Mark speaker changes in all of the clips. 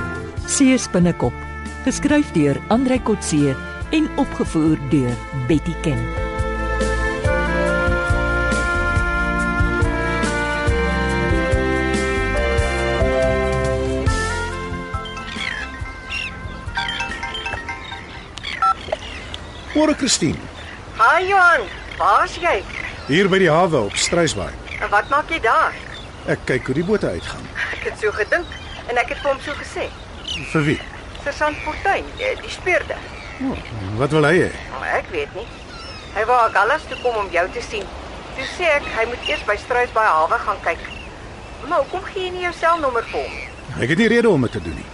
Speaker 1: Kotse se binnekop, geskryf deur Andrei Kotse en opgevoer deur Betty Ken.
Speaker 2: Môre Christine,
Speaker 3: Hi Johan, waar's jy?
Speaker 2: hier by die hawe op Struisbaai.
Speaker 3: En wat maak jy daar?
Speaker 2: Ek kyk hoe die bote uitgaan.
Speaker 3: Ek het so gedink en ek het vir hom so gesê.
Speaker 2: Vir wie?
Speaker 3: Sergeant Fortuin, eh, die speurder.
Speaker 2: Oh. Wat wil hy hê?
Speaker 3: Maar ek weet nie. Hy wou aan Gallas toe kom om jou te sien. Toe sê ek hy moet eers by Struisbaai hawe gaan kyk. Maar hoekom gee jy nie jou selnommer vir hom? nie?
Speaker 2: Ek het nie rede om dit te doen nie.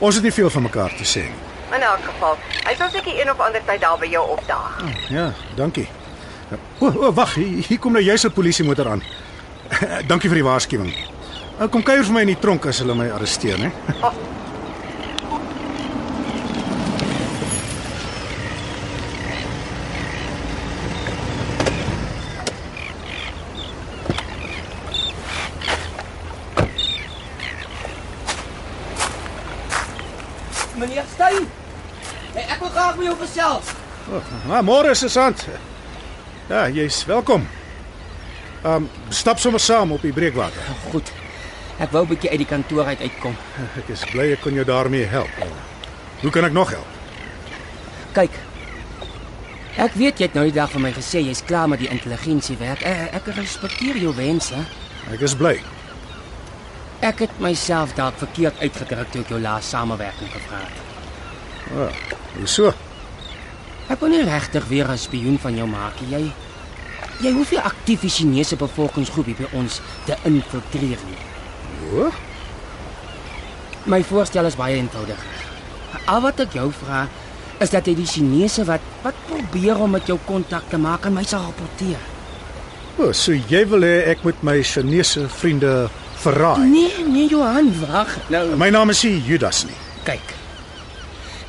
Speaker 2: Ons het nie veel van mekaar te sê nie.
Speaker 3: In elk geval, hy sal seker een of ander tyd daar by jou opdaag.
Speaker 2: Ja, dankie. O, o wag, hier, hier kom nou juis 'n polisiemotor aan. dankie vir die waarskuwing. Nou kom kuier vir my in die tronk as hulle my arresteer, hè.
Speaker 4: Meneer Stein. Hey, ek wil graag met jou gesels.
Speaker 2: Maar Ah, môre is sant. Ja, jy's welkom. Ehm um, stap sommer saam op die breekwater.
Speaker 4: Goed. Ek wou 'n bietjie uit die kantoor uit uitkom.
Speaker 2: Ek is bly ek kon jou daarmee help. Hoe kan ek nog help?
Speaker 4: Kyk. Ek weet jy het nou die dag vir my gesê jy's klaar met die intelligensiewerk. Ek, ek respekteer jou wense.
Speaker 2: Ek is bly.
Speaker 4: Ek het myself dalk verkeerd uitgedruk toe ek jou laas samewerking gevra het.
Speaker 2: Hoeso?
Speaker 4: Ek wil nie regtig weer 'n spioen van jou maak nie. Jy jy hoef nie aktief die Chinese bevolkingsgroep hier by ons te infiltreer nie.
Speaker 2: O,
Speaker 4: My voorstel is baie eenvoudig. Al wat ek jou vra is dat jy die Chinese wat wat probeer om met jou kontak te maak aan my sal rapporteer.
Speaker 2: o, so jy wil hê ek moet my Chinese vriende verraai.
Speaker 4: Nee, nee Johan, wag. Nou
Speaker 2: My naam is nie Judas nie.
Speaker 4: kyk.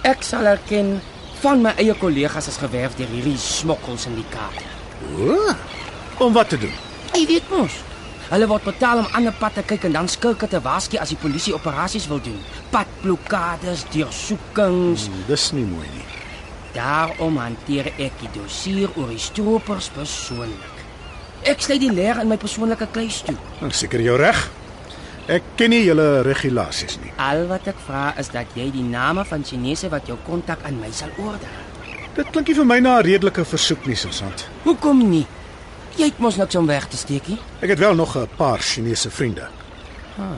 Speaker 4: Ek sal erken van my eie kollegas is gewerf deur hierdie smokkels in die Kaap.
Speaker 2: O. Om wat te doen?
Speaker 4: Jy weet mos. Hulle word betaal om ander pad te kyk en dan skilke te waarsku as die polisie operasies wil doen. Padblokkades, deursoekings.
Speaker 2: Dis nie mooi nie.
Speaker 4: Daarom hanteer ek die dossier oor die stroopers persoonlik. Ek sluit die leer in my persoonlike kluis toe.
Speaker 2: Nou seker jou reg. Ek ken nie julle regulasies nie.
Speaker 4: Al wat ek vra is dat jy die name van Chinese wat jou kontak aan my sal oordra.
Speaker 2: Dit klink nie vir my na 'n redelike versoek nie, Sussant.
Speaker 4: Hoekom nie? Jy het mos niks om weg te steek nie.
Speaker 2: Ek het wel nog 'n paar Chinese vriende.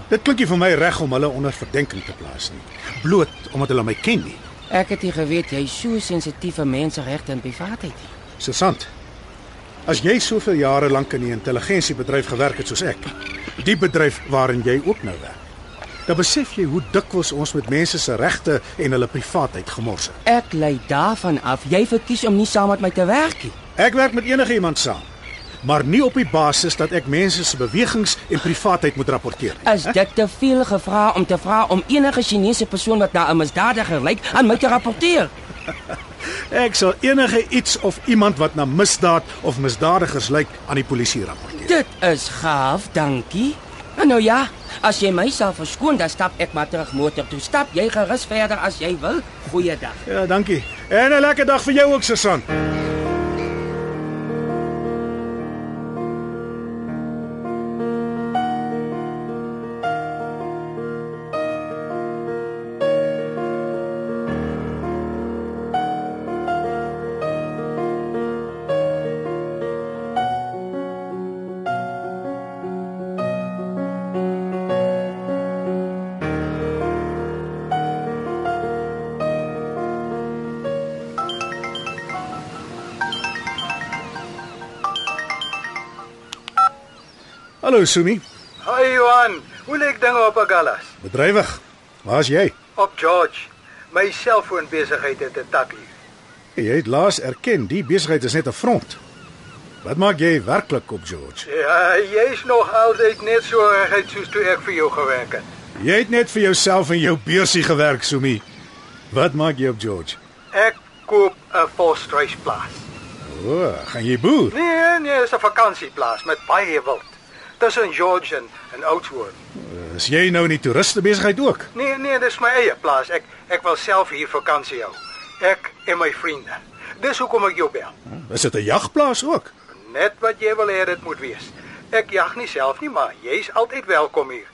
Speaker 2: Dit klink nie vir my reg om hulle onder verdenking te plaas nie. Bloot omdat hulle my ken nie.
Speaker 4: Ek het nie geweet jy is so sensitief vir menseregte en privaatheid nie.
Speaker 2: Sussant. As jy soveel jare lank in die intelligensiebedryf gewerk het soos ek, die bedryf waarin jy ook nou werk, dan besef jy hoe dikwels ons met mense se regte en hulle privaatheid gemors het.
Speaker 4: Ek lei daarvan af jy verkies om nie saam met my te werk nie.
Speaker 2: Ek werk met enige iemand saam, maar nie op die basis dat ek mense se bewegings en privaatheid moet rapporteer nie.
Speaker 4: Is dit te veel gevra om te vra om enige Chinese persoon wat na 'n misdadiger lyk aan my te rapporteer?
Speaker 2: Ek sal enige iets of iemand wat na misdaad of misdadigers lyk aan die polisie rapporteer.
Speaker 4: Dit is gaaf, dankie. En nou ja, as jy my sal verskoon, dan stap ek maar terug motor toe. Stap jy gerus verder as jy wil. Goeiedag.
Speaker 2: Ja, dankie. En 'n lekker dag vir jou ook, Susan. Hallo Sumi.
Speaker 5: Hi Johan, hoe lyk dinge op Agallas?
Speaker 2: Bedrywig. Waar's jy?
Speaker 5: Op George. My selfoon besigheid het 'n takkie.
Speaker 2: Jy het laas erken die besigheid is net 'n front. Wat maak jy werklik op George?
Speaker 5: Ja, jy's nog altyd net so regheid soos toe ek vir jou gewerk het.
Speaker 2: Jy het net vir jouself en jou beursie gewerk, Sumi. Wat maak jy op George?
Speaker 5: Ek koop 'n volstruisplaas.
Speaker 2: O, gaan jy boer?
Speaker 5: Nee, nee, dis 'n vakansieplaas met baie wild. Tussen George en, en Oudtshoorn.
Speaker 2: Is jy nou in die toeriste besigheid ook?
Speaker 5: Nee, nee, dis my eie plaas. Ek ek wil self hier vakansie hou. Ek en my vriende. Dis hoekom ek jou bel.
Speaker 2: Is dit 'n jagplaas ook?
Speaker 5: Net wat jy wil hê dit moet wees. Ek jag nie self nie, maar jy's altyd welkom hier.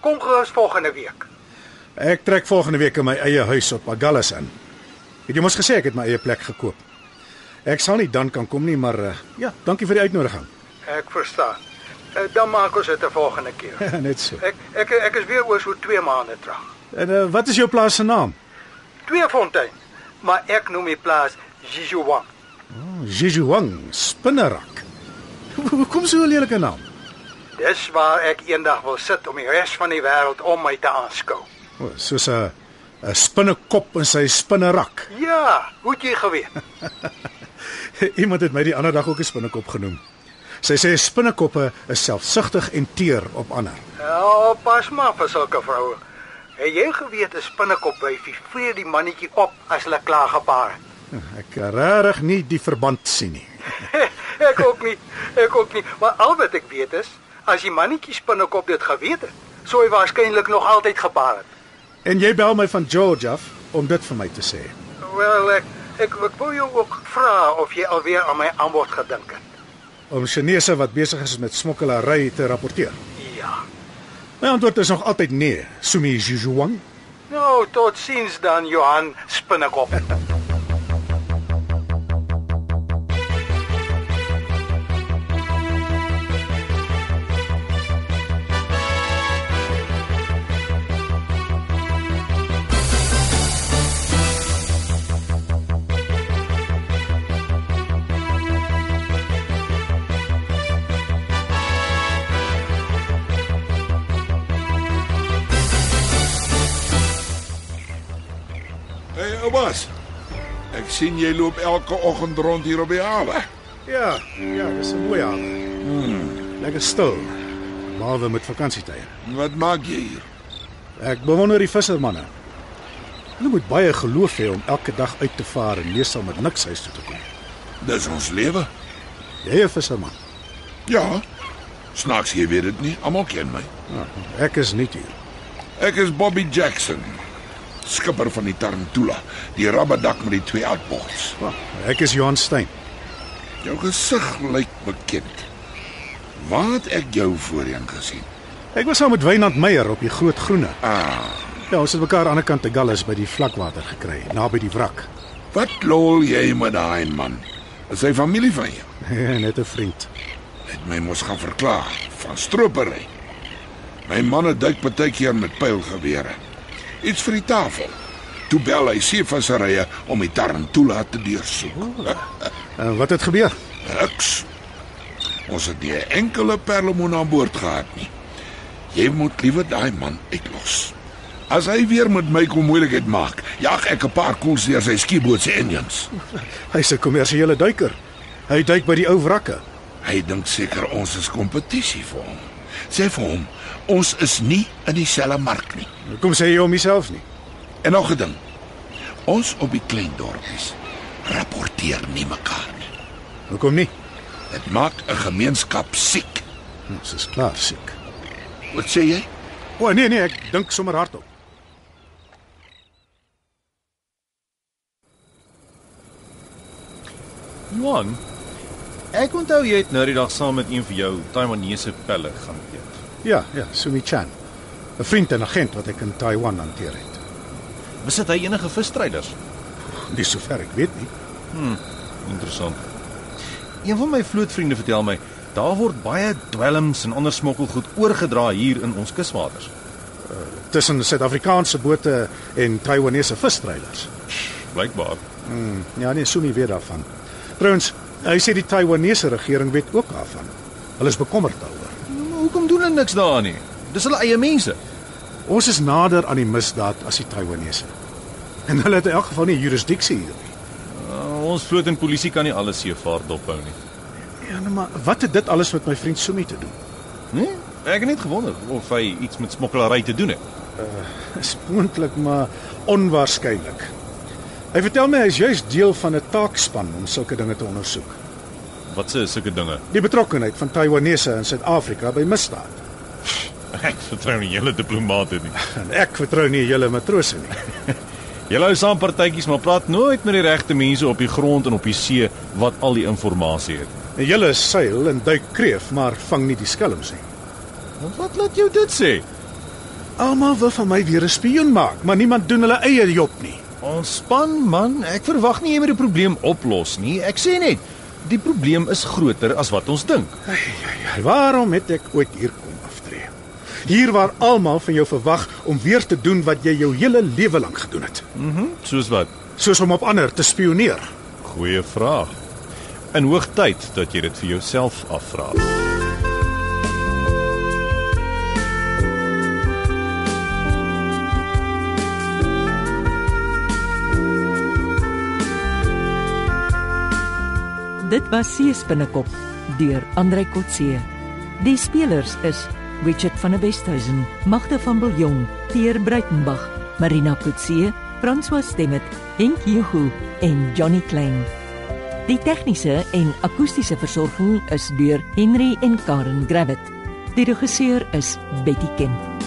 Speaker 5: Kom gerus volgende week.
Speaker 2: Ek trek volgende week in my eie huis op Agallas in. Het jy mos gesê ek het my eie plek gekoop? Ek sal nie dan kan kom nie, maar eh, ja, dankie vir die uitnodiging.
Speaker 5: Ek verstaan. Eh, Dan maak ons dit 'n volgende keer.
Speaker 2: Net so.
Speaker 5: Ek ek ek is weer oor so 2 maande terug.
Speaker 2: En uh, wat is jou plaas se naam?
Speaker 5: Tweefontein. Maar ek noem die plaas Jijuang.
Speaker 2: Jijuang Spinnerak. Hoekom so 'n lelike naam?
Speaker 5: Dis waar ek eendag wil sit om die res van die wêreld om my te aanskou.
Speaker 2: O, Soos 'n 'n spinnekop in sy spinnerak.
Speaker 5: Ja, hoe het jy geweet?
Speaker 2: Iemand het my die ander dag ook 'n spinnekop genoem. Sy sê spinnekoppe is selfsugtig en teer op ander.
Speaker 5: Ja, pas maar vir sulke vroue. Het jy geweet 'n spinnekop wyfie vreet die mannetjie op as hulle klaar gepaar het?
Speaker 2: Ek kan regtig nie die verband sien nie.
Speaker 5: ek ook nie. Ek ook nie. Maar al wat ek weet is, as die mannetjie spinnekop dit geweet het, sou hy waarskynlik nog altyd gepaar het.
Speaker 2: En jy bel my van George af om dit vir my te sê.
Speaker 5: Wel, ek ek, ek wou jou ook vra of jy alweer aan my aanbod gedink het.
Speaker 2: Om Chinese wat besig is met smokkelary te rapporteer.
Speaker 5: Ja.
Speaker 2: My antwoord is nog altyd nee, Sumi Jijuang.
Speaker 5: Nou, tot ziens dan Johan Spinnekop.
Speaker 6: Hey, Obas. Ek sien jy loop elke oggend rond hier op die hawe.
Speaker 2: Ja, ja, dis 'n mooi hawe. Hmm. Lekker stil. Behalwe met vakansietye.
Speaker 6: Wat maak jy hier?
Speaker 2: Ek bewonder die vissermanne. Hulle moet baie geloof hê om elke dag uit te vaar en meestal met niks huis toe te kom.
Speaker 6: Dis ons lewe.
Speaker 2: Jy 'n visserman.
Speaker 6: Ja. Snaaks jy weet dit nie. Almal ken my.
Speaker 2: Ek is nie hier.
Speaker 6: Ek is Bobby Jackson, skipper van die Tarantula, die rabbedak met die twee uitbogs.
Speaker 2: Ek is Johan Stein.
Speaker 6: Jou gesig lyk bekend. Waar het ek jou voorheen gesien?
Speaker 2: Ek was saam met Wynand Meyer op die Groot Groene.
Speaker 6: Ah,
Speaker 2: Ja, ons het mekaar aan die ander kant te Gallus by die vlakwater gekry, naby die wrak.
Speaker 6: wat lol jy met daai man? Is hy familie van jou?
Speaker 2: Net 'n vriend.
Speaker 6: Het my mos gaan verklaar van stropery. My manne duik baie keer met pylgewere. Iets vir die tafel. Toe bel hy seevisserye om die tarantula te deursoek.
Speaker 2: En Eh, wat het gebeur?
Speaker 6: Niks. Ons het nie 'n enkele perlemoen aan boord gehad nie. Jy moet liewer daai man uitlos. As hy weer met my kom moeilikheid maak, jag ek 'n paar koels deur sy skieboot se engines.
Speaker 2: Hy's 'n kommersiële duiker. Hy duik by die ou wrakke.
Speaker 6: Hy dink seker ons is kompetisie vir hom. Sê vir hom, ons is nie in dieselfde mark nie.
Speaker 2: Kom sê jy om myself nie.
Speaker 6: En nog 'n ding. Ons op die klein dorpies rapporteer nie mekaar nie.
Speaker 2: Hoekom nie?
Speaker 6: Dit maak 'n gemeenskap siek.
Speaker 2: Ons Hm, is klaar siek.
Speaker 6: Wat sê jy?
Speaker 2: O nee nee, ek dink sommer hardop.
Speaker 7: Johan, ek onthou jy het nou die dag saam met een van jou Taiwanese pelle gaan eet.
Speaker 2: Ja, ja, Sumi Chan. 'n Vriend en agent wat ek in Taiwan hanteer het.
Speaker 7: Was dit hy enige visstryders?
Speaker 2: Nie sover ek weet nie.
Speaker 7: Interessant. Een van my vlootvriende vertel my, daar word baie dwelms en ander smokkelgoed oorgedra hier in ons kuswaters.
Speaker 2: Tussen Suid-Afrikaanse bote en Taiwanese visstrylers.
Speaker 7: Blykbaar.
Speaker 2: Ja nee, Sumi weet daarvan. Trouwens, hy sê die Taiwanese regering weet ook daarvan. Hulle is bekommerd daaroor.
Speaker 7: Maar hoekom doen hulle niks daaraan nie? Dis hulle eie mense.
Speaker 2: Ons is nader aan die misdaad as die Taiwanese. En hulle het in elk geval nie jurisdiksie hier nie.
Speaker 7: Uh, ons vloot en polisie kan nie alles seevaart dophou nie.
Speaker 2: Ja, nou maar wat het dit alles met my vriend Sumi te doen?
Speaker 7: Nee, ek het net gewonder of hy iets met smokkelary te doen het.
Speaker 2: Is moontlik, maar onwaarskynlik. Hy vertel my hy is juis deel van 'n taakspan om sulke dinge te ondersoek.
Speaker 7: Wat se sulke dinge?
Speaker 2: Die betrokkeheid van Taiwanese in Suid-Afrika by misdaad.
Speaker 7: Ek vertrou nie julle diplomate nie.
Speaker 2: En ek vertrou nie julle matrose nie.
Speaker 7: Julle hou saam partytjies, maar praat nooit met die regte mense op die grond en op die see wat al die inligting het.
Speaker 2: En julle seil en duik kreef, maar vang nie die skelms nie.
Speaker 7: Wat laat jou dit sê?
Speaker 2: Almal wil van my weer 'n spioen maak, maar niemand doen hulle eie job nie.
Speaker 7: Ontspan man, ek verwag nie jy moet die probleem oplos nie. Ek sê net, die probleem is groter as wat ons dink.
Speaker 2: Ai, Waarom het ek ooit hier kom aftree? Hier waar almal van jou verwag om weer te doen wat jy jou hele lewe lank gedoen het,
Speaker 7: Soos wat?
Speaker 2: soos om op ander te spioneer.
Speaker 7: Goeie vraag. In hoogtyd dat jy dit vir jouself afvra.
Speaker 1: Dit was Sees binnekop deur Andrei Kotse. Die spelers is Richard van der Westhuizen, Magda van Biljong, Pierre Breitenberg, Marina Kotse, François Stemmet, Henk Jehu en Johnny Klein. Die tegniese en akoestiese versorging is deur Henry en Karen Gravett. Die regisseur is Betty Kemp.